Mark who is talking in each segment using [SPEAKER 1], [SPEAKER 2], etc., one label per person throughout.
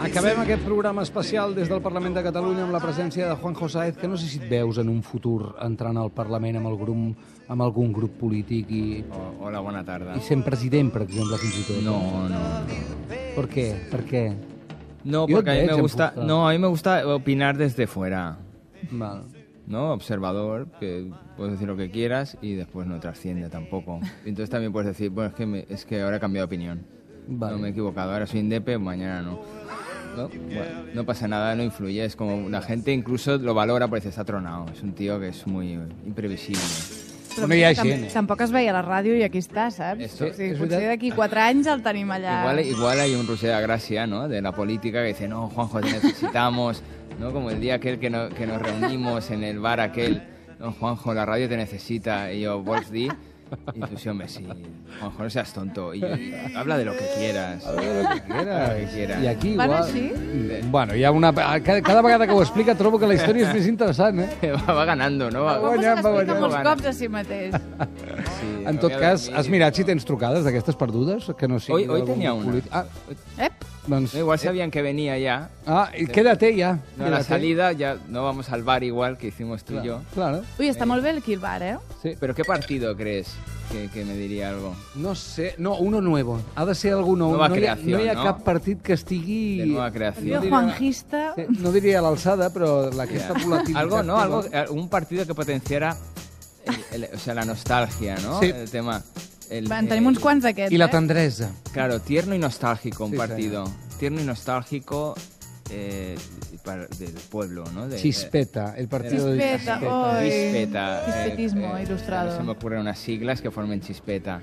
[SPEAKER 1] Acabem aquest programa especial des del Parlament de Catalunya amb la presència de Juan Josaez, que no sé si et veus en un futur entrant al Parlament amb, el grup, amb algun grup polític i,
[SPEAKER 2] O- Hola, bona tarda.
[SPEAKER 1] i sent president, per exemple, fins i tot.
[SPEAKER 2] No, no.
[SPEAKER 1] Per què? Per què?
[SPEAKER 2] No,
[SPEAKER 1] Yo
[SPEAKER 2] porque a
[SPEAKER 1] de
[SPEAKER 2] mí me
[SPEAKER 1] hecho,
[SPEAKER 2] gusta,
[SPEAKER 1] puta.
[SPEAKER 2] no, a mí me gusta opinar desde fuera,
[SPEAKER 1] Val.
[SPEAKER 2] ¿no? Observador, que puedes decir lo que quieras y después no trasciende tampoco. Y Entonces también puedes decir, bueno, es que, me- es que ahora he cambiado de opinión.
[SPEAKER 1] Vale.
[SPEAKER 2] No me he equivocado, ahora soy indepe, mañana no. ¿No? Bueno, no pasa nada, no influye. Es como la gente incluso lo valora porque dice, está tronado. Es un tío que es muy imprevisible.
[SPEAKER 1] Bueno, hi ha
[SPEAKER 3] tam-
[SPEAKER 1] gent.
[SPEAKER 3] Tampoc es veia a la ràdio i aquí està, saps?
[SPEAKER 2] eh? Esto-
[SPEAKER 3] o sigui,
[SPEAKER 1] és
[SPEAKER 3] potser
[SPEAKER 1] veritat.
[SPEAKER 3] d'aquí quatre anys el tenim allà.
[SPEAKER 2] Igual, igual hay un Rusé de Gracia, ¿no? De la política que dice, no, Juanjo, te necesitamos, ¿no? Como el día aquel que, no- que nos reunimos en el bar aquel, no, Juanjo, la radio te necesita. Y yo, Wolf D, y tú sí, hombre, sí, Juanjo, no seas tonto. Y yo, habla de lo que quieras.
[SPEAKER 1] Lo que
[SPEAKER 2] Habla de lo
[SPEAKER 1] quieras.
[SPEAKER 2] que quieras.
[SPEAKER 1] I aquí
[SPEAKER 3] Van
[SPEAKER 1] igual...
[SPEAKER 3] així?
[SPEAKER 1] Bueno, hi ha una... Cada, cada vegada que ho explica trobo que la història és més interessant, eh?
[SPEAKER 2] Va, va ganando, ¿no? Va,
[SPEAKER 3] Ho
[SPEAKER 1] guanyar,
[SPEAKER 3] explica
[SPEAKER 1] va guanyar.
[SPEAKER 3] molts cops a si mateix.
[SPEAKER 2] Sí,
[SPEAKER 1] En tot
[SPEAKER 2] había
[SPEAKER 1] cas,
[SPEAKER 2] dormido.
[SPEAKER 1] has mirat si tens trucades d'aquestes perdudes? Que no sigui
[SPEAKER 2] Hoy- hoy
[SPEAKER 1] d'algun
[SPEAKER 2] tenia una.
[SPEAKER 1] polític? Ah,
[SPEAKER 3] Ep,
[SPEAKER 1] doncs...
[SPEAKER 2] No, igual sabían que venía ya.
[SPEAKER 1] Ah, i quédate ya.
[SPEAKER 2] No, a la
[SPEAKER 1] quédate.
[SPEAKER 2] salida ya no vamos al bar igual que hicimos tú y yo.
[SPEAKER 1] Claro.
[SPEAKER 3] ui, està molt bé el Kill Bar, eh?
[SPEAKER 1] Sí.
[SPEAKER 2] ¿Pero qué partido crees que- que me diría algo?
[SPEAKER 1] No sé, no, uno nuevo. Ha de ser algú nou.
[SPEAKER 2] Nova
[SPEAKER 1] no, hi ha,
[SPEAKER 2] creació,
[SPEAKER 1] no hi ha
[SPEAKER 2] no?
[SPEAKER 1] cap partit que estigui...
[SPEAKER 2] De nueva
[SPEAKER 3] El
[SPEAKER 2] creación.
[SPEAKER 3] meu Juanjista...
[SPEAKER 1] Sí, no diria a l'alçada, però la, aquesta
[SPEAKER 2] Ya.
[SPEAKER 1] volatilitat...
[SPEAKER 2] Algo, ¿no?
[SPEAKER 1] que
[SPEAKER 2] Algo,
[SPEAKER 1] va-
[SPEAKER 2] eh, un partido que potenciara el- el- o sea, la nostalgia, ¿no?
[SPEAKER 1] Sí.
[SPEAKER 2] El tema. El,
[SPEAKER 3] Van,
[SPEAKER 2] eh,
[SPEAKER 3] tenim uns quants d'aquests,
[SPEAKER 1] I la
[SPEAKER 3] eh?
[SPEAKER 1] tendresa.
[SPEAKER 2] Claro, tierno y nostálgico, un
[SPEAKER 1] Sí,
[SPEAKER 2] partido. Tierno y nostálgico eh, para- del pueblo, ¿no? De-
[SPEAKER 1] Chispeta, el partido de
[SPEAKER 3] Chispeta,
[SPEAKER 1] Chispeta.
[SPEAKER 3] oh.
[SPEAKER 2] de-
[SPEAKER 3] Ay.
[SPEAKER 2] Chispeta.
[SPEAKER 3] Chispetismo ilustrado.
[SPEAKER 2] no Se me ocurren unas siglas que formen chispeta.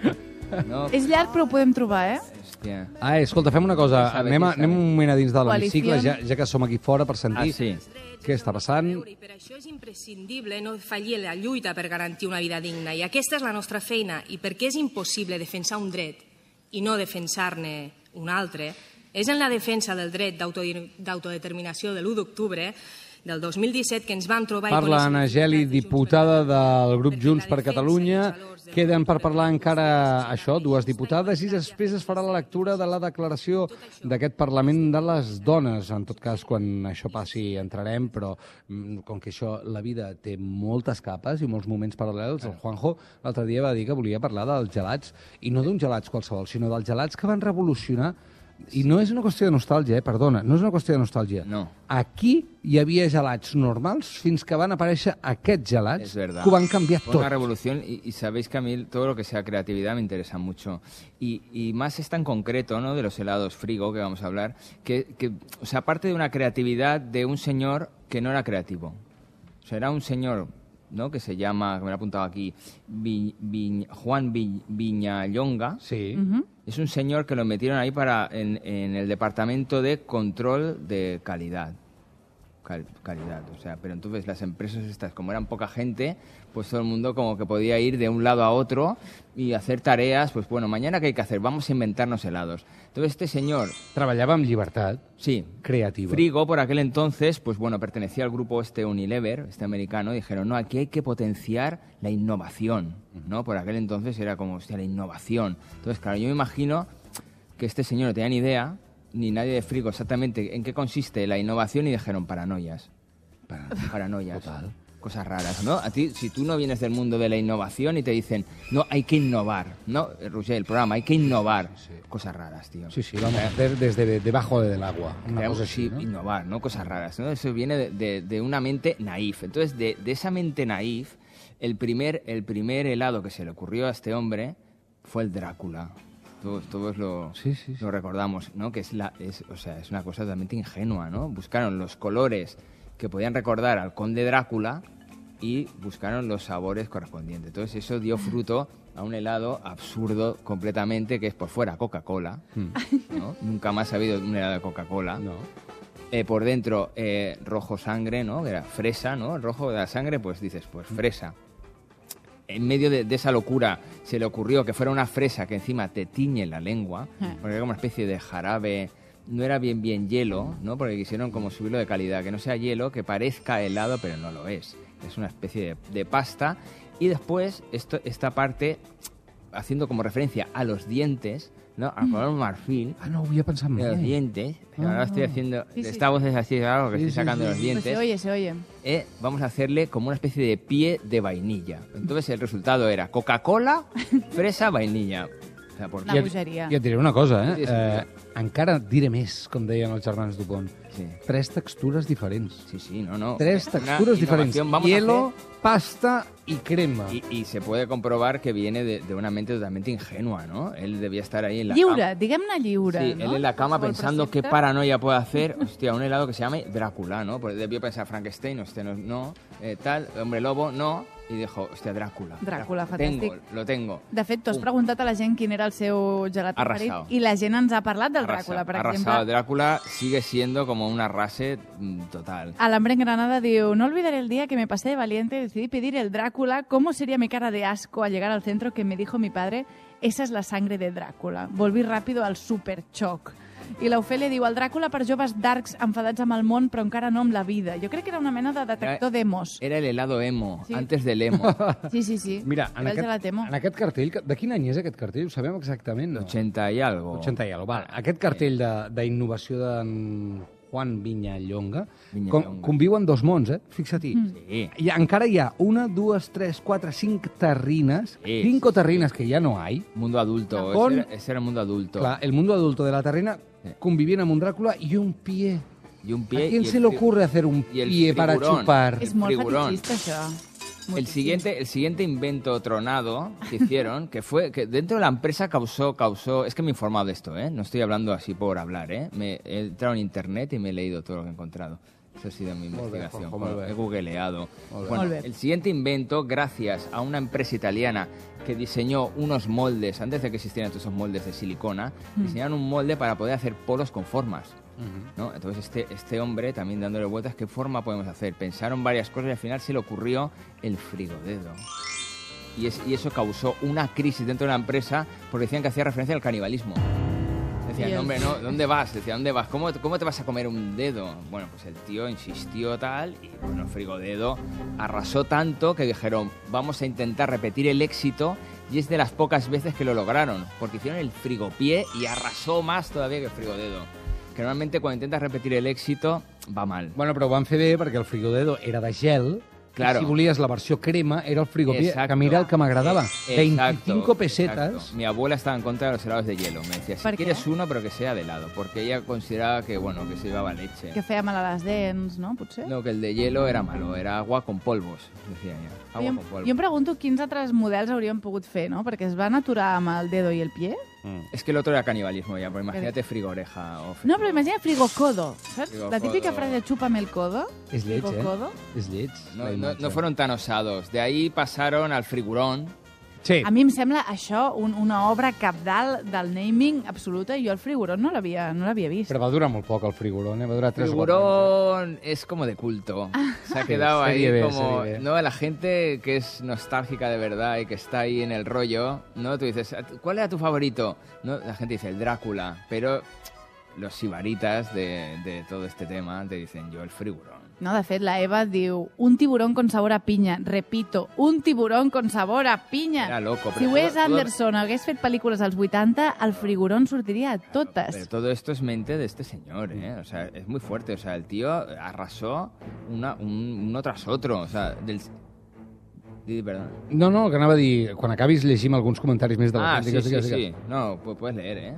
[SPEAKER 2] ¿No?
[SPEAKER 3] És llarg, però ho podem trobar, eh?
[SPEAKER 2] Hostia.
[SPEAKER 1] Ah, escolta, fem una cosa.
[SPEAKER 2] Sabe,
[SPEAKER 1] Anem, a,
[SPEAKER 2] sabe.
[SPEAKER 1] anem un moment a dins de
[SPEAKER 3] Coalición.
[SPEAKER 1] l'hemicicle, ja, ja que som aquí fora per
[SPEAKER 2] Ah,
[SPEAKER 1] sentir
[SPEAKER 2] sí.
[SPEAKER 1] què està passant.
[SPEAKER 4] euro i per això és imprescindible no fallir la lluita per garantir una vida digna i aquesta és la nostra feina i perquè és impossible defensar un dret i no defensar-ne un altre és en la defensa del dret d'autodir- d'autodeterminació de l'1 d'octubre del 2017 que ens vam trobar... i
[SPEAKER 1] Parla
[SPEAKER 4] coneixem-
[SPEAKER 1] Ana Geli, diputada del grup
[SPEAKER 4] Perquè la
[SPEAKER 1] Junts per
[SPEAKER 4] defensa
[SPEAKER 1] Catalunya.
[SPEAKER 4] dels valors del
[SPEAKER 1] Queden per
[SPEAKER 4] poble
[SPEAKER 1] parlar
[SPEAKER 4] català
[SPEAKER 1] encara
[SPEAKER 4] està
[SPEAKER 1] això, dues diputades, i després es farà la lectura de la declaració d'aquest Parlament de les dones. En tot cas, quan això passi entrarem, però mm, com que això, la vida té moltes capes i molts moments paral·lels, el Juanjo l'altre dia va dir que volia parlar dels gelats, i no d'un gelats qualsevol, sinó dels gelats que van revolucionar i no és una qüestió de nostàlgia, eh? perdona, no és una qüestió de nostàlgia.
[SPEAKER 2] No.
[SPEAKER 1] Aquí hi havia gelats normals fins que van aparèixer aquests gelats
[SPEAKER 2] Es verdad.
[SPEAKER 1] que ho van canviar
[SPEAKER 2] Fue
[SPEAKER 1] tot.
[SPEAKER 2] Una revolución y, y sabéis que a mí todo lo que sea creatividad me interesa mucho. Y, y más es tan concreto, ¿no? De los helados frigo que vamos a hablar, que, que, o sea, aparte de una creatividad de un señor que no era creativo. O sea, era un señor, ¿no? Que se llama, que me lo he apuntado aquí, Vi- Vi- Juan Vi- Viñallonga.
[SPEAKER 1] Sí.
[SPEAKER 2] Es un señor que lo metieron ahí para en, en el departamento de control de calidad. Cal- calidad, o sea, pero entonces las empresas estas, como eran poca gente, pues todo el mundo como que podía ir de un lado a otro y hacer tareas, pues bueno, mañana qué hay que hacer, vamos a inventarnos helados. Entonces este señor,
[SPEAKER 1] Treballava amb llibertat
[SPEAKER 2] sí,
[SPEAKER 1] creativa.
[SPEAKER 2] Frigo, por aquel entonces, pues bueno, pertenecía al grupo este Unilever, este americano, y dijeron, no, aquí hay que potenciar la innovación, ¿no? Por aquel entonces era como, hostia, la innovación. Entonces, claro, yo me imagino que este señor no tenía ni idea, ni nadie de Frigo exactamente en qué consiste la innovación, y dijeron paranoias,
[SPEAKER 1] Pa-
[SPEAKER 2] paranoias.
[SPEAKER 1] Total.
[SPEAKER 2] Cosas raras, ¿no? A ti, si tú no vienes del mundo de la innovación y te dicen, no, hay que innovar, ¿no? Eh, Roger, el programa, hay que innovar. Cosas raras, tío.
[SPEAKER 1] Sí, sí, vamos a hacer desde debajo del agua. Una
[SPEAKER 2] Creamos
[SPEAKER 1] cosa
[SPEAKER 2] así,
[SPEAKER 1] així, no?
[SPEAKER 2] innovar, ¿no? Cosas raras, ¿no? Eso viene de, de- de una mente naif. Entonces, de, de esa mente naif, el primer, el primer helado que se le ocurrió a este hombre fue el Drácula. Todos, todos lo,
[SPEAKER 1] Sí, sí, sí.
[SPEAKER 2] lo recordamos, ¿no? Que es, la, es, o sea, es una cosa totalmente ingenua, ¿no? Buscaron los colores que podían recordar al conde Drácula y buscaron los sabores correspondientes. Entonces, eso dio fruto a un helado absurdo completamente, que es por fuera Coca-Cola, ¿no? Nunca más ha habido un helado de Coca-Cola.
[SPEAKER 1] Hmm. No.
[SPEAKER 2] Eh, por dentro, eh, rojo sangre, ¿no? Que era fresa, ¿no? El rojo de la sangre, pues dices, pues fresa. En medio de, de esa locura se le ocurrió que fuera una fresa que encima te tiñe la lengua, porque era como una especie de jarabe, no era bien bien hielo, ¿no? Porque quisieron como subirlo de calidad, que no sea hielo, que parezca helado, pero no lo es. Es una especie de, de pasta. Y después, esto, esta parte haciendo como referencia a los dientes, ¿no? A color marfil,
[SPEAKER 1] Ah, no ho havia pensat
[SPEAKER 2] de los
[SPEAKER 1] mai.
[SPEAKER 2] dientes. pero ahora estoy haciendo.
[SPEAKER 3] Sí, sí.
[SPEAKER 2] Esta voz es así, claro, que
[SPEAKER 1] Ah. Sí,
[SPEAKER 2] estoy
[SPEAKER 1] sí,
[SPEAKER 2] sacando
[SPEAKER 1] sí,
[SPEAKER 2] los
[SPEAKER 1] sí.
[SPEAKER 3] Pues se
[SPEAKER 2] dientes.
[SPEAKER 3] oye, se oye.
[SPEAKER 2] eh, vamos a hacerle como una especie de pie de vainilla. Entonces el resultado era Coca-Cola, fresa, vainilla. O sea, por
[SPEAKER 3] Una
[SPEAKER 1] I et,
[SPEAKER 3] bogeria.
[SPEAKER 1] I et diré una cosa, eh?
[SPEAKER 2] Sí, sí, sí.
[SPEAKER 1] eh? Encara diré més, com deien els germans Dupont.
[SPEAKER 2] Sí.
[SPEAKER 1] Tres textures diferents.
[SPEAKER 2] Sí, sí, no, no.
[SPEAKER 1] Tres
[SPEAKER 2] Una
[SPEAKER 1] texturas diferents.
[SPEAKER 2] innovación. Vamos a
[SPEAKER 1] Hielo, pasta y crema.
[SPEAKER 2] hacer- Y, y se puede comprobar que viene de, de una mente totalmente ingenua, ¿no? Él debía estar ahí en la
[SPEAKER 3] Lliure,
[SPEAKER 2] cama.
[SPEAKER 3] diguem-ne lliure.
[SPEAKER 2] Sí,
[SPEAKER 3] no?
[SPEAKER 2] él en la cama
[SPEAKER 3] Qualsevol
[SPEAKER 2] pensando qué
[SPEAKER 3] precepte.
[SPEAKER 2] paranoia puede hacer. Hostia, un helado que se llame Drácula, ¿no? Porque debió pensar Frankenstein, hostia, no, no eh, tal, hombre lobo, no. Y dijo, hostia, Drácula.
[SPEAKER 3] Drácula,
[SPEAKER 2] Tengo,
[SPEAKER 3] fantástico.
[SPEAKER 2] lo tengo.
[SPEAKER 3] De fet, tu has
[SPEAKER 2] Pum.
[SPEAKER 3] preguntat a la gent quin era el seu gelat
[SPEAKER 2] Arrasado.
[SPEAKER 3] preferit i la gent ens ha parlat del
[SPEAKER 2] Arrasa-
[SPEAKER 3] Dràcula, per
[SPEAKER 2] arrasado.
[SPEAKER 3] exemple.
[SPEAKER 2] Drácula sigue siendo como una rase mm, total.
[SPEAKER 3] A l'Hambre en Granada diu No olvidaré el día que me pasé de valiente y decidí pedir el Drácula. ¿Cómo sería mi cara de asco al llegar al centro que me dijo mi padre Esa es la sangre de Drácula. Volví rápido al super choc. I l'Ofèlia diu, el Dràcula per joves darks enfadats amb el món, però encara no amb la vida. Jo crec que era una mena de detector
[SPEAKER 1] Eh,
[SPEAKER 3] d'emos.
[SPEAKER 2] Era el helado emo,
[SPEAKER 3] Sí.
[SPEAKER 2] antes del emo.
[SPEAKER 3] Sí, sí, sí.
[SPEAKER 1] Mira, en
[SPEAKER 3] Era el
[SPEAKER 1] aquest,
[SPEAKER 3] gelat emo.
[SPEAKER 1] en aquest cartell... que- De quin any és aquest cartell? Ho sabem exactament, no?
[SPEAKER 2] 80 y algo.
[SPEAKER 1] 80 i algo. Va, aquest cartell de- d'innovació de, d'en Juan Viñallonga,
[SPEAKER 2] Viñallonga.
[SPEAKER 1] com, conviuen dos mons, eh? Fixa-t'hi. Mm.
[SPEAKER 2] Sí.
[SPEAKER 1] I encara hi ha una, dues, tres, quatre, cinc terrines,
[SPEAKER 2] Sí,
[SPEAKER 1] cinco terrines que ja no hay.
[SPEAKER 2] Mundo adulto.
[SPEAKER 1] Con-
[SPEAKER 2] Ese, era, ese era el mundo adulto.
[SPEAKER 1] Clar, el mundo adulto de la terrina
[SPEAKER 2] Sí.
[SPEAKER 1] convivien amb un Drácula i un pie.
[SPEAKER 2] Y un pie.
[SPEAKER 1] pie ¿A quién
[SPEAKER 2] y el
[SPEAKER 1] se le
[SPEAKER 2] fri-
[SPEAKER 1] ocurre hacer un
[SPEAKER 2] y el
[SPEAKER 1] pie para
[SPEAKER 2] frigorón.
[SPEAKER 1] chupar?
[SPEAKER 3] És molt
[SPEAKER 2] frigorón.
[SPEAKER 3] fetichista, això.
[SPEAKER 2] El
[SPEAKER 3] Moltíssim.
[SPEAKER 2] siguiente, el siguiente invento tronado que hicieron, que fue que dentro de la empresa causó, causó, es que me he informado de esto, ¿eh? no estoy hablando así por hablar, ¿eh? me he entrado en internet y me he leído todo lo que he encontrado. Eso ha sido mi
[SPEAKER 1] Molt bé,
[SPEAKER 2] investigación,
[SPEAKER 1] Juanjo, molt bé.
[SPEAKER 2] he googleado.
[SPEAKER 1] Molt bé.
[SPEAKER 2] Bueno,
[SPEAKER 3] Molt bé.
[SPEAKER 2] el siguiente invento, gracias a una empresa italiana que diseñó unos moldes, antes de que existieran todos esos moldes de silicona, diseñaron un molde para poder hacer polos con formas. ¿no? Entonces este, este hombre también dándole vueltas, ¿qué forma podemos hacer? Pensaron varias cosas y al final se le ocurrió el frigodedo. Y, es- y eso causó una crisis dentro de la empresa porque decían que hacía referencia al canibalismo. Decían,
[SPEAKER 3] Dios.
[SPEAKER 2] "No, hombre, no, ¿dónde vas? Decía, ¿dónde vas? ¿Cómo, ¿Cómo te vas a comer un dedo? Bueno, pues el tío insistió tal y bueno, frigodedo arrasó tanto que dijeron, vamos a intentar repetir el éxito y es de las pocas veces que lo lograron, porque hicieron el frigopié y arrasó más todavía que el frigodedo. Que normalmente cuando intentas repetir el éxito va mal.
[SPEAKER 1] Bueno, però ho van fer bé perquè el frigodedo era de gel,
[SPEAKER 2] Claro.
[SPEAKER 1] i si volies la versió crema era el frigopié,
[SPEAKER 2] Exacto.
[SPEAKER 1] que mira el que m'agradava.
[SPEAKER 2] Eh, exacto,
[SPEAKER 1] 25 pesetas.
[SPEAKER 2] exacto. Mi abuela estaba en contra de los helados de hielo. Me decía,
[SPEAKER 3] ¿Por
[SPEAKER 2] si
[SPEAKER 3] qué?
[SPEAKER 2] quieres uno, pero que sea de helado. Porque ella consideraba que, bueno, que se llevaba leche.
[SPEAKER 3] Que feia mal a les dents, no? Potser?
[SPEAKER 2] No, que el de hielo era malo, era agua con polvos, decía ella.
[SPEAKER 1] ah,
[SPEAKER 2] Agua
[SPEAKER 3] jo, em-
[SPEAKER 2] con polvos.
[SPEAKER 3] jo em pregunto quins altres models hauríem pogut fer, no? Perquè es van aturar amb el dedo i el pie.
[SPEAKER 2] Es que el otro era canibalismo ya, pues imagínate frigoreja o fri-
[SPEAKER 3] No, però imagina frigocodo, saps?
[SPEAKER 2] Frigocodo.
[SPEAKER 3] La típica frase, chúpame el codo.
[SPEAKER 1] És lleig, eh?
[SPEAKER 3] frigocodo.
[SPEAKER 1] És lleig.
[SPEAKER 2] No,
[SPEAKER 1] la
[SPEAKER 2] no-
[SPEAKER 1] imatge.
[SPEAKER 2] no fueron tan osados. De ahí pasaron al frigurón.
[SPEAKER 1] Sí.
[SPEAKER 3] A mi em sembla això un, una obra capdal del naming absoluta i jo el frigorón no l'havia no l'havia vist.
[SPEAKER 1] Però va durar molt poc el frigorón, eh? Va durar 3 o 4
[SPEAKER 2] Frigurón es como de culto. Se ha
[SPEAKER 1] Sí,
[SPEAKER 2] quedado ahí
[SPEAKER 1] serie B,
[SPEAKER 2] como...
[SPEAKER 1] serie B.
[SPEAKER 2] No, la gente que es nostálgica de verdad y que está ahí en el rollo, ¿no? Tú dices, "Ah, ¿cuál era tu favorito? No, la gente dice, el Drácula. Pero los sibaritas de, de todo este tema te dicen, yo el frigurón.
[SPEAKER 3] No, de fet, la Eva diu un tiburón con sabor a pinya. Repito, un tiburón con sabor a pinya.
[SPEAKER 2] Era loco,
[SPEAKER 3] si
[SPEAKER 2] però todo-
[SPEAKER 3] Wes
[SPEAKER 2] todo-
[SPEAKER 3] Anderson hagués fet pel·lícules als 80, el frigorón sortiria a
[SPEAKER 2] Pero
[SPEAKER 3] totes.
[SPEAKER 2] todo esto es mente de este señor, ¿eh? O sea, es muy fuerte. O sea, el tío arrasó una, un- uno tras otro. O sea, del... Di, perdón.
[SPEAKER 1] No, no, que anava a dir... Quan acabis llegim alguns comentaris més de la
[SPEAKER 2] Ah,
[SPEAKER 1] gent.
[SPEAKER 2] sí,
[SPEAKER 1] digues,
[SPEAKER 2] sí,
[SPEAKER 1] digues,
[SPEAKER 2] sí.
[SPEAKER 1] digues.
[SPEAKER 2] No, pu- puedes leer, ¿eh?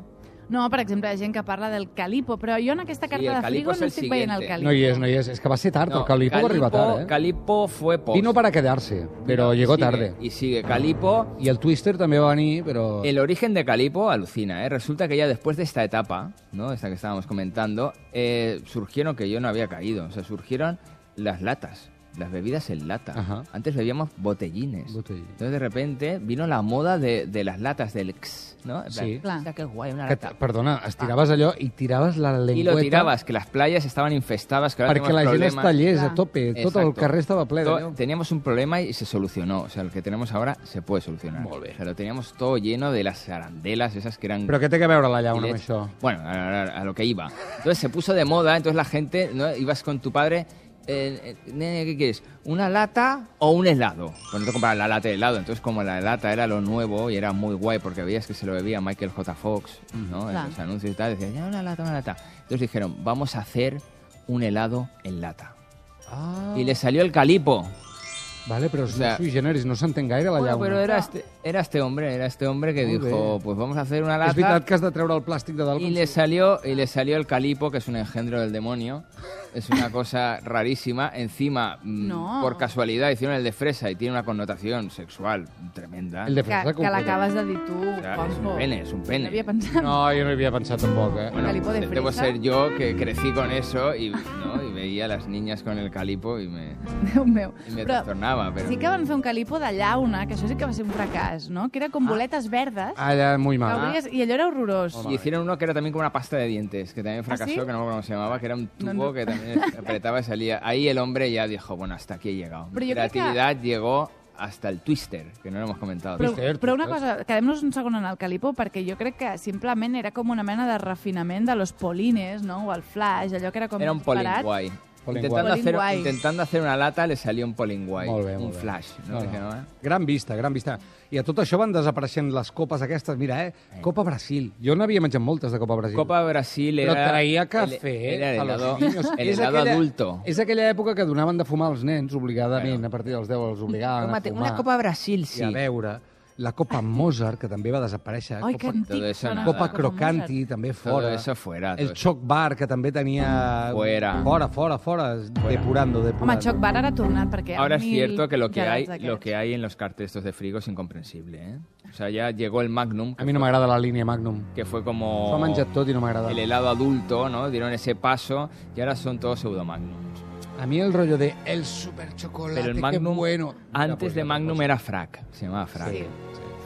[SPEAKER 3] No, per exemple, hi ha gent que parla del calipo, però jo en aquesta
[SPEAKER 2] Sí,
[SPEAKER 3] carta
[SPEAKER 2] el
[SPEAKER 3] de
[SPEAKER 2] calipo
[SPEAKER 3] frigo
[SPEAKER 2] és
[SPEAKER 3] no
[SPEAKER 2] el
[SPEAKER 3] estic veient el
[SPEAKER 2] siguiente.
[SPEAKER 3] calipo.
[SPEAKER 1] No hi és, no hi és. És que va ser tard, no,
[SPEAKER 2] No,
[SPEAKER 1] el Calipo, va arribar tard, eh?
[SPEAKER 2] Calipo fue post.
[SPEAKER 1] Vino para quedarse, però
[SPEAKER 2] Y
[SPEAKER 1] llegó
[SPEAKER 2] sigue,
[SPEAKER 1] tarde.
[SPEAKER 2] Y sigue Calipo.
[SPEAKER 1] I el Twister també va venir, però...
[SPEAKER 2] El origen de Calipo alucina, ¿eh? Resulta que ya después de esta etapa, ¿no? Esta que estábamos comentando, eh, surgieron que yo no había caído. O sea, surgieron las latas, las bebidas en lata.
[SPEAKER 1] Ajá.
[SPEAKER 2] Antes bebíamos botellines.
[SPEAKER 1] Botellines.
[SPEAKER 2] Entonces, de repente, vino la moda de, de las latas del X, ¿no? En plan,
[SPEAKER 1] Sí.
[SPEAKER 3] Claro.
[SPEAKER 2] "Hostia, qué guay, una
[SPEAKER 1] Que,
[SPEAKER 2] lata.
[SPEAKER 1] t- perdona, estiraves allò i tiraves la
[SPEAKER 2] Y
[SPEAKER 1] lengüeta...
[SPEAKER 2] lo tirabas, que las playas estaban infestadas, que ahora
[SPEAKER 1] perquè
[SPEAKER 2] tenemos
[SPEAKER 1] la gent es
[SPEAKER 2] problemas.
[SPEAKER 1] tallés a
[SPEAKER 3] Clar.
[SPEAKER 1] tope. Tot el
[SPEAKER 2] Ah, Exacto.
[SPEAKER 1] carrer estava ple de...
[SPEAKER 2] To-
[SPEAKER 1] Déu.
[SPEAKER 2] Teníamos un problema y se solucionó. O sea, el que tenemos ahora se puede solucionar. Pero teníamos todo lleno de las arandelas, esas que eran
[SPEAKER 1] Però què té que veure la llauna
[SPEAKER 2] Y
[SPEAKER 1] amb
[SPEAKER 2] le-
[SPEAKER 1] això?
[SPEAKER 2] Bueno, a, a- a lo que iba. Entonces se puso de moda, entonces la gente, ¿no? ibas con tu padre, eh, eh, nene, ¿qué quieres? ¿Una lata o un helado? Bueno, te compraba la lata de helado. Entonces, como la lata era lo nuevo y era muy guay porque veías que se lo bebía Michael J. Fox, ¿no?
[SPEAKER 3] Claro.
[SPEAKER 2] En los anuncios y tal, decían, ya una lata, una lata. Entonces dijeron, vamos a hacer un helado en lata.
[SPEAKER 1] Ah,
[SPEAKER 2] Y le salió el calipo.
[SPEAKER 1] vale, però és
[SPEAKER 2] O sea-
[SPEAKER 1] sui generis, no s'entén gaire la
[SPEAKER 2] Bueno,
[SPEAKER 1] llauna.
[SPEAKER 2] pero era este, era este hombre, era este hombre que
[SPEAKER 1] Muy
[SPEAKER 2] dijo,
[SPEAKER 1] bien.
[SPEAKER 2] pues vamos a hacer una
[SPEAKER 1] És veritat
[SPEAKER 2] lata.
[SPEAKER 1] que has de treure el plàstic de dalt.
[SPEAKER 2] Y
[SPEAKER 1] com
[SPEAKER 2] le
[SPEAKER 1] si-
[SPEAKER 2] salió, y le salió el calipo, que es un engendro del demonio. Es una cosa rarísima. Encima, mm,
[SPEAKER 3] No.
[SPEAKER 2] por casualidad, hicieron el de fresa y tiene una connotación sexual tremenda.
[SPEAKER 1] El de
[SPEAKER 3] Que,
[SPEAKER 1] fresa
[SPEAKER 3] que
[SPEAKER 1] completa.
[SPEAKER 3] l'acabes de dir tu,
[SPEAKER 2] O sea, es
[SPEAKER 3] Juanjo.
[SPEAKER 2] un pene, es un pene.
[SPEAKER 3] No havia pensat.
[SPEAKER 1] No, jo no hi havia pensat tampoc, eh?
[SPEAKER 2] Bueno,
[SPEAKER 3] Calipo de
[SPEAKER 2] de- debo
[SPEAKER 3] fresa.
[SPEAKER 2] ser yo que crecí con eso y, ¿no? y veía a las niñas con el calipo y me,
[SPEAKER 3] Déu meu.
[SPEAKER 2] y me
[SPEAKER 3] Però
[SPEAKER 2] trastornaba. Pero...
[SPEAKER 3] sí que van fer un calipo de llauna, que això sí que va ser un fracàs, no? Que era
[SPEAKER 2] Ah.
[SPEAKER 3] com boletes verdes.
[SPEAKER 1] Allà, molt
[SPEAKER 3] que
[SPEAKER 1] mal.
[SPEAKER 3] obries, I allò era horrorós.
[SPEAKER 2] Y hicieron uno que era también como una pasta de dientes, que también fracasó,
[SPEAKER 3] ¿Ah, sí?
[SPEAKER 2] que no me acuerdo cómo se llamaba, que era un tubo
[SPEAKER 3] No, no.
[SPEAKER 2] que también apretaba y salía. Ahí el hombre ya dijo, bueno, hasta aquí he llegado.
[SPEAKER 3] Pero
[SPEAKER 2] Mi
[SPEAKER 3] yo creo que-
[SPEAKER 2] creatividad llegó hasta el twister, que no lo hemos comentado.
[SPEAKER 3] Però,
[SPEAKER 1] Twister,
[SPEAKER 3] però una
[SPEAKER 1] twister.
[SPEAKER 3] cosa, quedem-nos un segon en el Calipo, perquè jo crec que simplement era com una mena de refinament de los polines, no? O el flash, allò que era com
[SPEAKER 2] Era un
[SPEAKER 3] disparat.
[SPEAKER 2] polinguay.
[SPEAKER 1] Polling
[SPEAKER 2] Intentando
[SPEAKER 3] guay.
[SPEAKER 2] hacer,
[SPEAKER 3] Polling guay.
[SPEAKER 2] intentando hacer una lata le salió un polinguay,
[SPEAKER 1] Molt bé,
[SPEAKER 2] un
[SPEAKER 1] molt bé.
[SPEAKER 2] flash. ¿no? Que no, ¿eh?
[SPEAKER 1] Gran vista, gran vista. I a tot això van desapareixent les copes aquestes. Mira, eh? Copa Brasil. Jo n'havia menjat moltes de Copa Brasil.
[SPEAKER 2] Copa Brasil
[SPEAKER 1] Però
[SPEAKER 2] era...
[SPEAKER 1] traía
[SPEAKER 2] el-
[SPEAKER 1] cafè
[SPEAKER 2] Era el
[SPEAKER 1] a los
[SPEAKER 2] helado,
[SPEAKER 1] niños.
[SPEAKER 2] el
[SPEAKER 1] És
[SPEAKER 2] helado
[SPEAKER 1] aquella-
[SPEAKER 2] adulto.
[SPEAKER 1] És aquella època que donaven de fumar als nens, obligadament, a partir dels 10 els obligaven a
[SPEAKER 2] Tómate
[SPEAKER 1] fumar.
[SPEAKER 2] Una Copa Brasil,
[SPEAKER 1] I
[SPEAKER 2] sí.
[SPEAKER 1] Ah. a beure. La Copa Mozart, que també va desaparèixer.
[SPEAKER 3] Ai, que
[SPEAKER 1] Copa,
[SPEAKER 3] antic.
[SPEAKER 2] Todo eso
[SPEAKER 3] sona.
[SPEAKER 2] nada.
[SPEAKER 1] Copa Crocanti, també fora.
[SPEAKER 2] Todo eso fuera,
[SPEAKER 1] El
[SPEAKER 2] todo eso.
[SPEAKER 1] Choc Bar, que també tenia...
[SPEAKER 2] Fuera.
[SPEAKER 1] Fora, fora, fora. Depurando, depurando.
[SPEAKER 3] Home, Choc Bar ara ha tornat, perquè...
[SPEAKER 2] Ahora es
[SPEAKER 3] mil
[SPEAKER 2] cierto que lo que, hay,
[SPEAKER 3] gelats d'aquests.
[SPEAKER 2] lo que hay en los carteles estos de frigo es incomprensible. ¿eh? O sea, ya llegó el Magnum,
[SPEAKER 1] A mi no m'agrada la línia Magnum.
[SPEAKER 2] que fue como
[SPEAKER 1] S'ho ha menjat tot i no m'agrada.
[SPEAKER 2] Oh. el helado adulto, ¿no? Dieron ese paso y ahora son todos pseudomagnums.
[SPEAKER 1] A mí el rollo de el super chocolate,
[SPEAKER 2] Pero el
[SPEAKER 1] qué
[SPEAKER 2] Magnum,
[SPEAKER 1] bueno.
[SPEAKER 2] antes
[SPEAKER 1] Ya, pues,
[SPEAKER 2] de
[SPEAKER 1] ya,
[SPEAKER 2] Magnum
[SPEAKER 1] pues.
[SPEAKER 2] era Frac, se llamaba Frac.
[SPEAKER 3] Sí.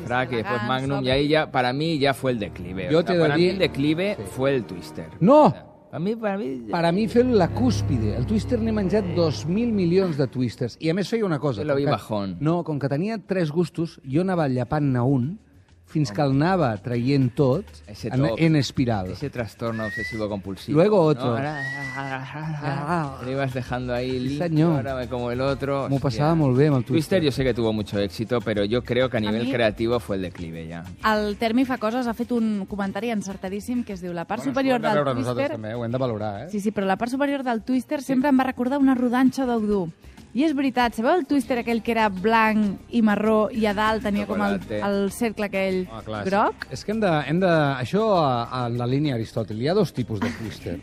[SPEAKER 2] Frac y después
[SPEAKER 3] Ganso,
[SPEAKER 2] Magnum y ahí ya, para mí ya fue el declive.
[SPEAKER 1] Yo
[SPEAKER 2] O sea,
[SPEAKER 1] te
[SPEAKER 2] para
[SPEAKER 1] doy-
[SPEAKER 2] mí el declive
[SPEAKER 1] Sí.
[SPEAKER 2] fue el Twister.
[SPEAKER 1] No!
[SPEAKER 2] O sea, Para mí, para mí...
[SPEAKER 1] Per a mi fer la cúspide. El Twister n'he menjat 2.000 milions de Twisters. I a més feia una cosa.
[SPEAKER 2] Jo la
[SPEAKER 1] com
[SPEAKER 2] vi
[SPEAKER 1] que-
[SPEAKER 2] bajón.
[SPEAKER 1] No, com que tenia tres gustos, jo anava llapant-ne un fins que el anava traient tot
[SPEAKER 2] Ese
[SPEAKER 1] en,
[SPEAKER 2] top.
[SPEAKER 1] en espiral.
[SPEAKER 2] Ese trastorno obsesivo compulsivo.
[SPEAKER 1] Luego otro. Ah.
[SPEAKER 2] ¿no? Ahora- Te lo ibas dejando ahí limpio,
[SPEAKER 1] señor.
[SPEAKER 2] ahora me como el otro.
[SPEAKER 1] M'ho
[SPEAKER 2] Hostia.
[SPEAKER 1] passava molt bé amb el
[SPEAKER 2] Twister.
[SPEAKER 1] Twister.
[SPEAKER 2] yo sé que tuvo mucho éxito, pero yo creo que a nivel
[SPEAKER 3] mí-
[SPEAKER 2] creativo fue el declive ya.
[SPEAKER 3] El Termi fa coses, ha fet un comentari encertadíssim que es diu la part superior del Twister...
[SPEAKER 1] també, ho hem de valorar, eh?
[SPEAKER 3] Sí, sí, però la part superior del Twister sempre em va recordar una rodanxa d'Audú. I és veritat, sabeu el Twister aquell que era blanc i marró i a dalt tenia com el,
[SPEAKER 2] Chocolate.
[SPEAKER 3] el cercle aquell
[SPEAKER 1] Ah, clar, sí.
[SPEAKER 3] groc?
[SPEAKER 1] És que hem de... Hem de això, a, a la línia Aristòtil, hi ha dos tipus de Twister.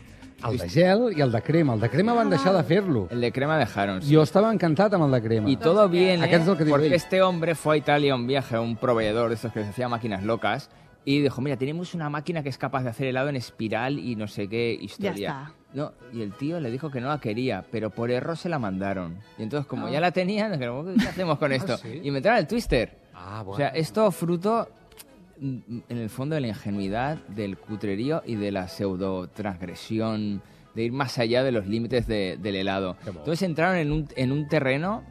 [SPEAKER 1] El de gel i el de crema. El de crema van deixar de fer-lo.
[SPEAKER 2] El de crema dejaron. sí.
[SPEAKER 1] Jo estava encantat amb el de crema.
[SPEAKER 2] Y todo viene
[SPEAKER 1] Acá es lo que digo,
[SPEAKER 2] porque
[SPEAKER 1] ey.
[SPEAKER 2] este hombre fue a Italia a un viaje a un proveedor de esos que les hacía máquinas locas y dijo, mira, tenemos una máquina que es capaz de hacer helado en espiral y no sé qué historia.
[SPEAKER 3] Ya está.
[SPEAKER 2] No, y el tío le dijo que no la quería, pero por error se la mandaron. Y entonces, como ya la tenían, dijeron, ¿qué hacemos con esto?
[SPEAKER 1] Ah. sí.
[SPEAKER 2] Y inventaron el twister.
[SPEAKER 1] Ah, bueno.
[SPEAKER 2] O sea, esto fruto mm, en el fondo de la ingenuidad, del cutrerío y de la pseudo transgresión, de ir más allá de los límites de- del helado.
[SPEAKER 1] Qué bo.
[SPEAKER 2] Entonces entraron en un, en un terreno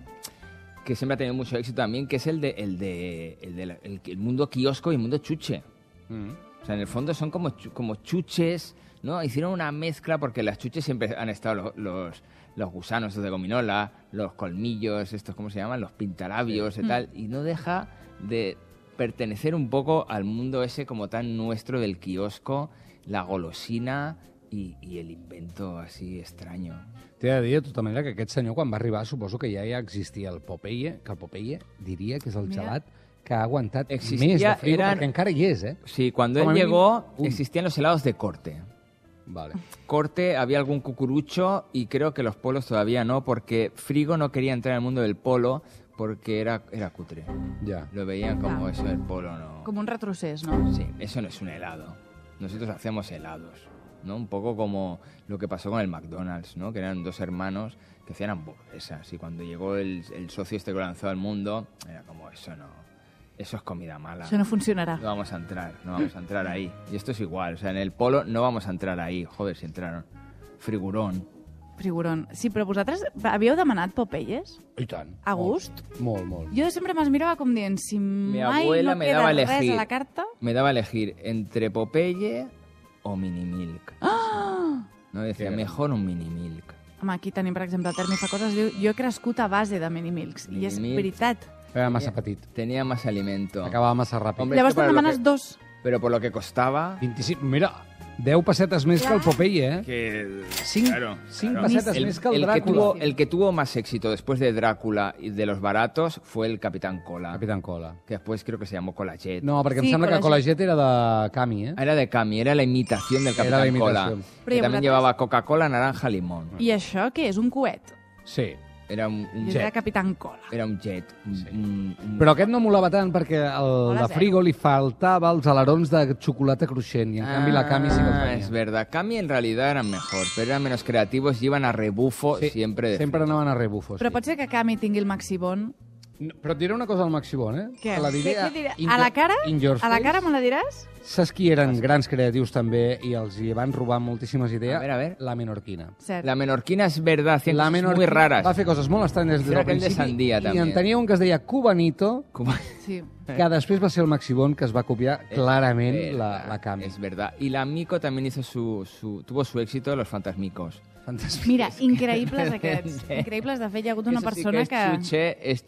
[SPEAKER 2] que siempre ha tenido mucho éxito también, que es el de el de el, de la- el- el mundo kiosco y el mundo chuche. O sea, en el fondo son como, chu- como chuches, ¿no? Hicieron una mezcla porque las chuches siempre han estado los, los, los gusanos estos de gominola, los colmillos, estos, ¿cómo se llaman? Los pintalabios y tal. Y no deja de pertenecer un poco al mundo ese como tan nuestro del kiosco, la golosina y, y el invento así extraño.
[SPEAKER 1] T'he de dir, de tota manera, que aquest senyor, quan va arribar, suposo que ja ja existia el Popeye, que el Popeye diria que és el
[SPEAKER 3] Mira.
[SPEAKER 1] gelat que ha aguantat
[SPEAKER 2] Existia,
[SPEAKER 1] més de frigo,
[SPEAKER 2] eren-
[SPEAKER 1] perquè encara hi és, eh?
[SPEAKER 2] Sí, cuando
[SPEAKER 1] Como a
[SPEAKER 2] él
[SPEAKER 1] mí-
[SPEAKER 2] llegó
[SPEAKER 1] Uy.
[SPEAKER 2] existían los helados de corte.
[SPEAKER 1] Vale.
[SPEAKER 2] corte, había algún cucurucho y creo que los polos todavía no, porque Frigo no quería entrar al mundo del polo porque era, era cutre.
[SPEAKER 1] Ja.
[SPEAKER 2] Lo veían como
[SPEAKER 3] Ah.
[SPEAKER 2] eso del polo, no.
[SPEAKER 3] Com un retrocés, no?
[SPEAKER 2] Sí, eso no es un helado. Nosotros hacemos helados, ¿no? Un poco como lo que pasó con el McDonald's, ¿no? Que eran dos hermanos que hacían hamburguesas y cuando llegó el, el socio este que lo lanzó al mundo, era como eso no. Eso es comida mala.
[SPEAKER 3] Això no funcionarà.
[SPEAKER 2] No vamos a entrar, no vamos a entrar ahí. Y esto es igual, o sea, en el polo no vamos a entrar ahí. Joder, si entraron. Frigurón.
[SPEAKER 3] Friguron. Sí, però vosaltres havíeu demanat Popeyes?
[SPEAKER 1] I tant.
[SPEAKER 3] A gust?
[SPEAKER 1] Molt, molt. molt.
[SPEAKER 3] Jo sempre me'ls mirava com dient, si
[SPEAKER 2] Mi
[SPEAKER 3] mai
[SPEAKER 2] abuela
[SPEAKER 3] no
[SPEAKER 2] me
[SPEAKER 3] queda
[SPEAKER 2] daba a
[SPEAKER 3] res
[SPEAKER 2] elegir.
[SPEAKER 3] a la carta...
[SPEAKER 2] Me daba a elegir entre Popeye o Mini Milk. No decía,
[SPEAKER 3] ¡Ah!
[SPEAKER 1] Qué
[SPEAKER 2] mejor un Mini Milk.
[SPEAKER 3] Home, aquí tenim, per exemple, el Termi fa coses, diu, jo he crescut a base de minimilks, i és
[SPEAKER 2] Minimilks.
[SPEAKER 3] veritat.
[SPEAKER 1] Era massa petit.
[SPEAKER 2] Tenía más alimento.
[SPEAKER 1] Acabava massa ràpid.
[SPEAKER 2] Hombre,
[SPEAKER 3] Llavors
[SPEAKER 2] que
[SPEAKER 3] te'n
[SPEAKER 2] para lo
[SPEAKER 3] demanes
[SPEAKER 2] que-
[SPEAKER 3] dos.
[SPEAKER 2] Pero por lo que costaba,
[SPEAKER 1] 25, mira, 10 pessetes més que el Popeye, eh?
[SPEAKER 2] que...
[SPEAKER 1] 5,
[SPEAKER 2] claro, claro.
[SPEAKER 1] pessetes
[SPEAKER 2] El,
[SPEAKER 1] més que el,
[SPEAKER 2] el que
[SPEAKER 1] Dràcula.
[SPEAKER 2] tuvo, el que tuvo más éxito después de Drácula y de los baratos fue el Capitán Cola.
[SPEAKER 1] Capitán Cola.
[SPEAKER 2] Ah, Que después creo que se llamó Colajet.
[SPEAKER 1] No, perquè
[SPEAKER 3] Sí,
[SPEAKER 1] em sembla que
[SPEAKER 3] Colaget.
[SPEAKER 1] Colaget era de Cami, eh?
[SPEAKER 2] Ah, Era de Cami, era la imitación del
[SPEAKER 1] Era
[SPEAKER 2] Capitán
[SPEAKER 1] la imitación.
[SPEAKER 2] Cola.
[SPEAKER 3] Pero
[SPEAKER 2] que también
[SPEAKER 3] ya volatas.
[SPEAKER 2] llevaba Coca-Cola, naranja, limón.
[SPEAKER 3] I això què és? Un coet.
[SPEAKER 1] Sí.
[SPEAKER 2] Era un, un
[SPEAKER 3] I
[SPEAKER 2] jet.
[SPEAKER 3] era Capitán Cola.
[SPEAKER 2] Era un jet. un- un- un-
[SPEAKER 1] Però aquest no molava tant perquè el
[SPEAKER 3] Hola,
[SPEAKER 1] de
[SPEAKER 3] zero.
[SPEAKER 1] Frigo li faltava els alarons de xocolata cruixent i en canvi la Cami sí que
[SPEAKER 2] Ah,
[SPEAKER 1] els
[SPEAKER 2] Es
[SPEAKER 1] tenia.
[SPEAKER 2] verdad, Cami en realidad eran mejor, pero eran menos creativos y iban a rebufo siempre. de
[SPEAKER 1] Sempre
[SPEAKER 2] fruta.
[SPEAKER 1] anaven a rebufos.
[SPEAKER 3] Però pot ser que Cami tingui el Maxibon?
[SPEAKER 1] No, però et diré una cosa al Maxibon, eh?
[SPEAKER 3] Què?
[SPEAKER 1] Que la diré,
[SPEAKER 3] Què- què diré?
[SPEAKER 1] in
[SPEAKER 3] A la
[SPEAKER 1] your-
[SPEAKER 3] cara?
[SPEAKER 1] in your
[SPEAKER 3] A la
[SPEAKER 1] face.
[SPEAKER 3] cara me la diràs?
[SPEAKER 1] Saps qui eren grans creatius també i els hi van robar moltíssimes idees?
[SPEAKER 2] A veure, a veure.
[SPEAKER 1] La menorquina.
[SPEAKER 3] Cert.
[SPEAKER 2] La menorquina es verdad, hacían
[SPEAKER 1] La
[SPEAKER 2] cosas
[SPEAKER 1] menorquina
[SPEAKER 2] muy raras.
[SPEAKER 1] va fer coses molt estranyes des
[SPEAKER 2] Era
[SPEAKER 1] del
[SPEAKER 2] aquell de
[SPEAKER 1] principi.
[SPEAKER 2] Sandia,
[SPEAKER 1] I
[SPEAKER 2] també.
[SPEAKER 1] en tenia un que es deia Cubanito,
[SPEAKER 2] Como-
[SPEAKER 3] Sí.
[SPEAKER 2] Eh.
[SPEAKER 1] que després va ser el Maxibon que es va copiar clarament
[SPEAKER 2] Es
[SPEAKER 1] la,
[SPEAKER 2] verdad,
[SPEAKER 1] la Cami.
[SPEAKER 2] Es verdad. Y la Mico también hizo su, su- tuvo su éxito de los fantasmicos.
[SPEAKER 1] Fantàstic.
[SPEAKER 3] Mira, increïbles aquests. Increïbles. De fet, hi ha hagut una
[SPEAKER 2] Eso sí
[SPEAKER 3] persona
[SPEAKER 2] que es chuche, es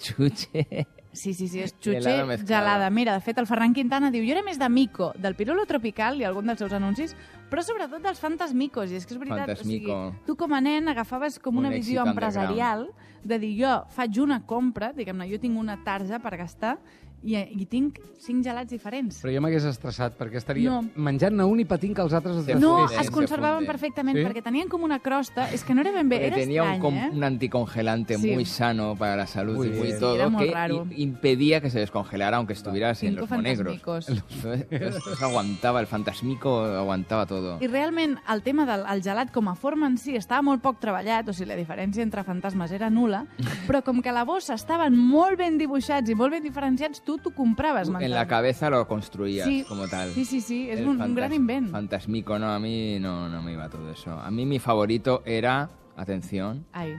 [SPEAKER 2] chuche.
[SPEAKER 3] Sí, sí, sí, és
[SPEAKER 2] Gelada
[SPEAKER 3] xutxe
[SPEAKER 2] mezclada.
[SPEAKER 3] gelada. Mira, de fet, el Ferran Quintana diu jo era més de Mico, del Pirulo Tropical i algun dels seus anuncis, però sobretot dels Fantasmicos, i és que és veritat, o
[SPEAKER 2] Fantasmico.
[SPEAKER 3] sigui, tu com a nen agafaves com
[SPEAKER 2] Un
[SPEAKER 3] una visió
[SPEAKER 2] èxit
[SPEAKER 3] empresarial de dir jo faig una compra, diguem-ne, jo tinc una tarja per gastar i, eh, i tinc cinc gelats diferents.
[SPEAKER 1] Però jo m'hagués estressat perquè estaria
[SPEAKER 3] No.
[SPEAKER 1] menjant-ne un i patint que els altres es
[SPEAKER 2] Sí,
[SPEAKER 3] No,
[SPEAKER 1] desfessin.
[SPEAKER 2] fonden,
[SPEAKER 3] es
[SPEAKER 2] se
[SPEAKER 3] conservaven
[SPEAKER 2] fonden.
[SPEAKER 3] perfectament
[SPEAKER 1] Sí?
[SPEAKER 3] perquè tenien com una crosta, és que no era ben bé,
[SPEAKER 2] Porque
[SPEAKER 3] era
[SPEAKER 2] tenía un,
[SPEAKER 3] estrany,
[SPEAKER 2] com-
[SPEAKER 3] eh?
[SPEAKER 2] un anticongelante
[SPEAKER 3] Sí.
[SPEAKER 2] muy sano para la salud
[SPEAKER 1] Muy
[SPEAKER 2] y muy
[SPEAKER 1] bien.
[SPEAKER 2] todo,
[SPEAKER 3] Era muy
[SPEAKER 2] que
[SPEAKER 3] raro.
[SPEAKER 2] i- impedía que se descongelara aunque estuvieras en
[SPEAKER 3] Cinco
[SPEAKER 2] los monegros.
[SPEAKER 3] fantasmicos.
[SPEAKER 2] Entonces, eso aguantaba, el fantasmico aguantaba todo.
[SPEAKER 3] I realment el tema del el gelat com a forma en si estava molt poc treballat, o sigui, la diferència entre fantasmes era nula, però com que a la bossa estaven molt ben dibuixats i molt ben diferenciats, tu t'ho compraves.
[SPEAKER 2] En la
[SPEAKER 3] mentalment.
[SPEAKER 2] cabeza lo construías
[SPEAKER 3] Sí.
[SPEAKER 2] como tal.
[SPEAKER 3] Sí, sí, sí, és
[SPEAKER 2] El
[SPEAKER 3] un, un
[SPEAKER 2] fantas-
[SPEAKER 3] gran invent.
[SPEAKER 2] Fantasmico, no, a mí no, no me iba todo eso. A mí mi favorito era, atención,
[SPEAKER 3] Ai,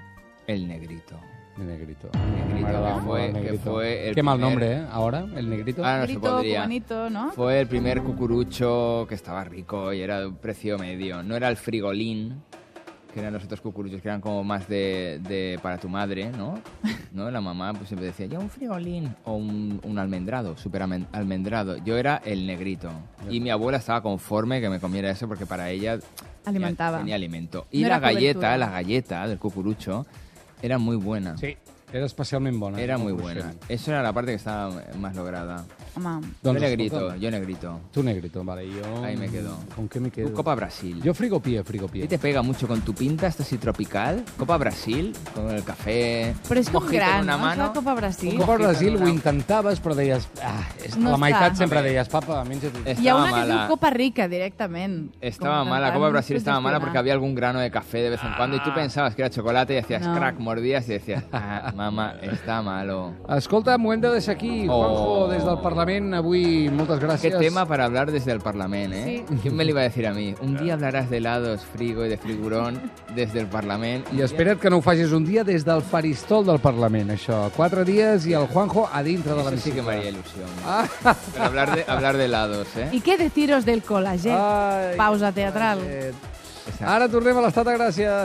[SPEAKER 2] el negrito.
[SPEAKER 1] El negrito.
[SPEAKER 2] Negrito,
[SPEAKER 1] M'agradava
[SPEAKER 2] que
[SPEAKER 1] molt
[SPEAKER 2] fue-
[SPEAKER 1] el
[SPEAKER 2] que
[SPEAKER 1] negrito.
[SPEAKER 2] fue el
[SPEAKER 1] Qué mal
[SPEAKER 2] primer- Ah.
[SPEAKER 1] nombre, eh? Ahora, el negrito.
[SPEAKER 2] Ahora no se
[SPEAKER 3] Grito,
[SPEAKER 2] podría.
[SPEAKER 3] Cubanito, no?
[SPEAKER 2] Fue el primer cucurucho que estaba rico y era de un precio medio. No era el frigolín, que eran los otros cucuruchos que eran como más de, de para tu madre, ¿no? ¿no? La mamá pues siempre decía, ya un frigolín o un, un almendrado, súper almen- almendrado. Yo era el negrito. Y mi abuela estaba conforme que me comiera eso porque para ella
[SPEAKER 3] Alimentaba.
[SPEAKER 2] tenía alimento. Y
[SPEAKER 3] No
[SPEAKER 2] la
[SPEAKER 3] era
[SPEAKER 2] galleta,
[SPEAKER 3] cobertura.
[SPEAKER 2] la galleta del cucurucho, era muy buena.
[SPEAKER 1] Sí, era especialment eh. bona.
[SPEAKER 2] Era muy
[SPEAKER 1] Cruixent.
[SPEAKER 2] buena. Eso era la parte que estaba más lograda.
[SPEAKER 3] home,
[SPEAKER 2] Yo
[SPEAKER 1] Doncs,
[SPEAKER 2] negrito,
[SPEAKER 1] escolta'm,
[SPEAKER 2] yo negrito.
[SPEAKER 1] Tu negrito, vale. Jo...
[SPEAKER 2] Ahí me quedo.
[SPEAKER 1] ¿Con qué me quedo?
[SPEAKER 2] Tú, Pues Copa Brasil.
[SPEAKER 1] Yo frigopie,
[SPEAKER 2] ¿Qué
[SPEAKER 1] frigopie.
[SPEAKER 2] te pega mucho con tu pinta? Estás así tropical. Copa Brasil, con el café.
[SPEAKER 3] Però és que un
[SPEAKER 2] mojito
[SPEAKER 3] gran,
[SPEAKER 2] en una
[SPEAKER 3] no? És la
[SPEAKER 2] mano.
[SPEAKER 3] Copa Brasil.
[SPEAKER 1] Un
[SPEAKER 2] Copa
[SPEAKER 1] cop al Brasil
[SPEAKER 2] Mojito,
[SPEAKER 1] ho
[SPEAKER 2] no.
[SPEAKER 1] intentaves, però deies... Ah, és...
[SPEAKER 3] No
[SPEAKER 1] la meitat
[SPEAKER 3] està.
[SPEAKER 1] sempre deies, papa, menja tu.
[SPEAKER 2] Eh,
[SPEAKER 3] Hi ha
[SPEAKER 2] estava
[SPEAKER 3] una que es diu
[SPEAKER 2] mala.
[SPEAKER 3] Copa Rica, directament.
[SPEAKER 2] Estaba
[SPEAKER 3] Com
[SPEAKER 2] mala,
[SPEAKER 3] intentant
[SPEAKER 2] Copa Brasil estaba mala
[SPEAKER 3] sugestionar.
[SPEAKER 2] porque había algún grano de café de vez en cuando y tú pensabas que era chocolate y hacías
[SPEAKER 3] Ah. No.
[SPEAKER 2] crack, mordías y decías, ah, mamá, está malo.
[SPEAKER 1] Escolta, m'ho hem de deixar aquí,
[SPEAKER 2] Oh.
[SPEAKER 1] Juanjo, des del Parlament. Avui, moltes
[SPEAKER 2] Qué
[SPEAKER 1] gràcies.
[SPEAKER 2] tema para hablar desde el Parlamento, ¿eh?
[SPEAKER 3] Sí.
[SPEAKER 2] ¿Quién me lo iba a decir a mí? Un día hablarás de helados, frigo y de frigurón desde el Parlamento.
[SPEAKER 1] I espera't que no ho facis un dia des del faristol del Parlament, això. Quatre dies i el Juanjo a dintre de
[SPEAKER 2] Eso sí
[SPEAKER 1] l'hemicicle.
[SPEAKER 2] que me haría ilusión. Pero hablar de, hablar de helados, ¿eh?
[SPEAKER 3] I què
[SPEAKER 2] Ah,
[SPEAKER 3] de tiros del col·lagent?
[SPEAKER 1] Ai,
[SPEAKER 3] Pausa teatral.
[SPEAKER 1] Eh,
[SPEAKER 2] Exacto.
[SPEAKER 1] Ara tornem a l'estat de gràcia.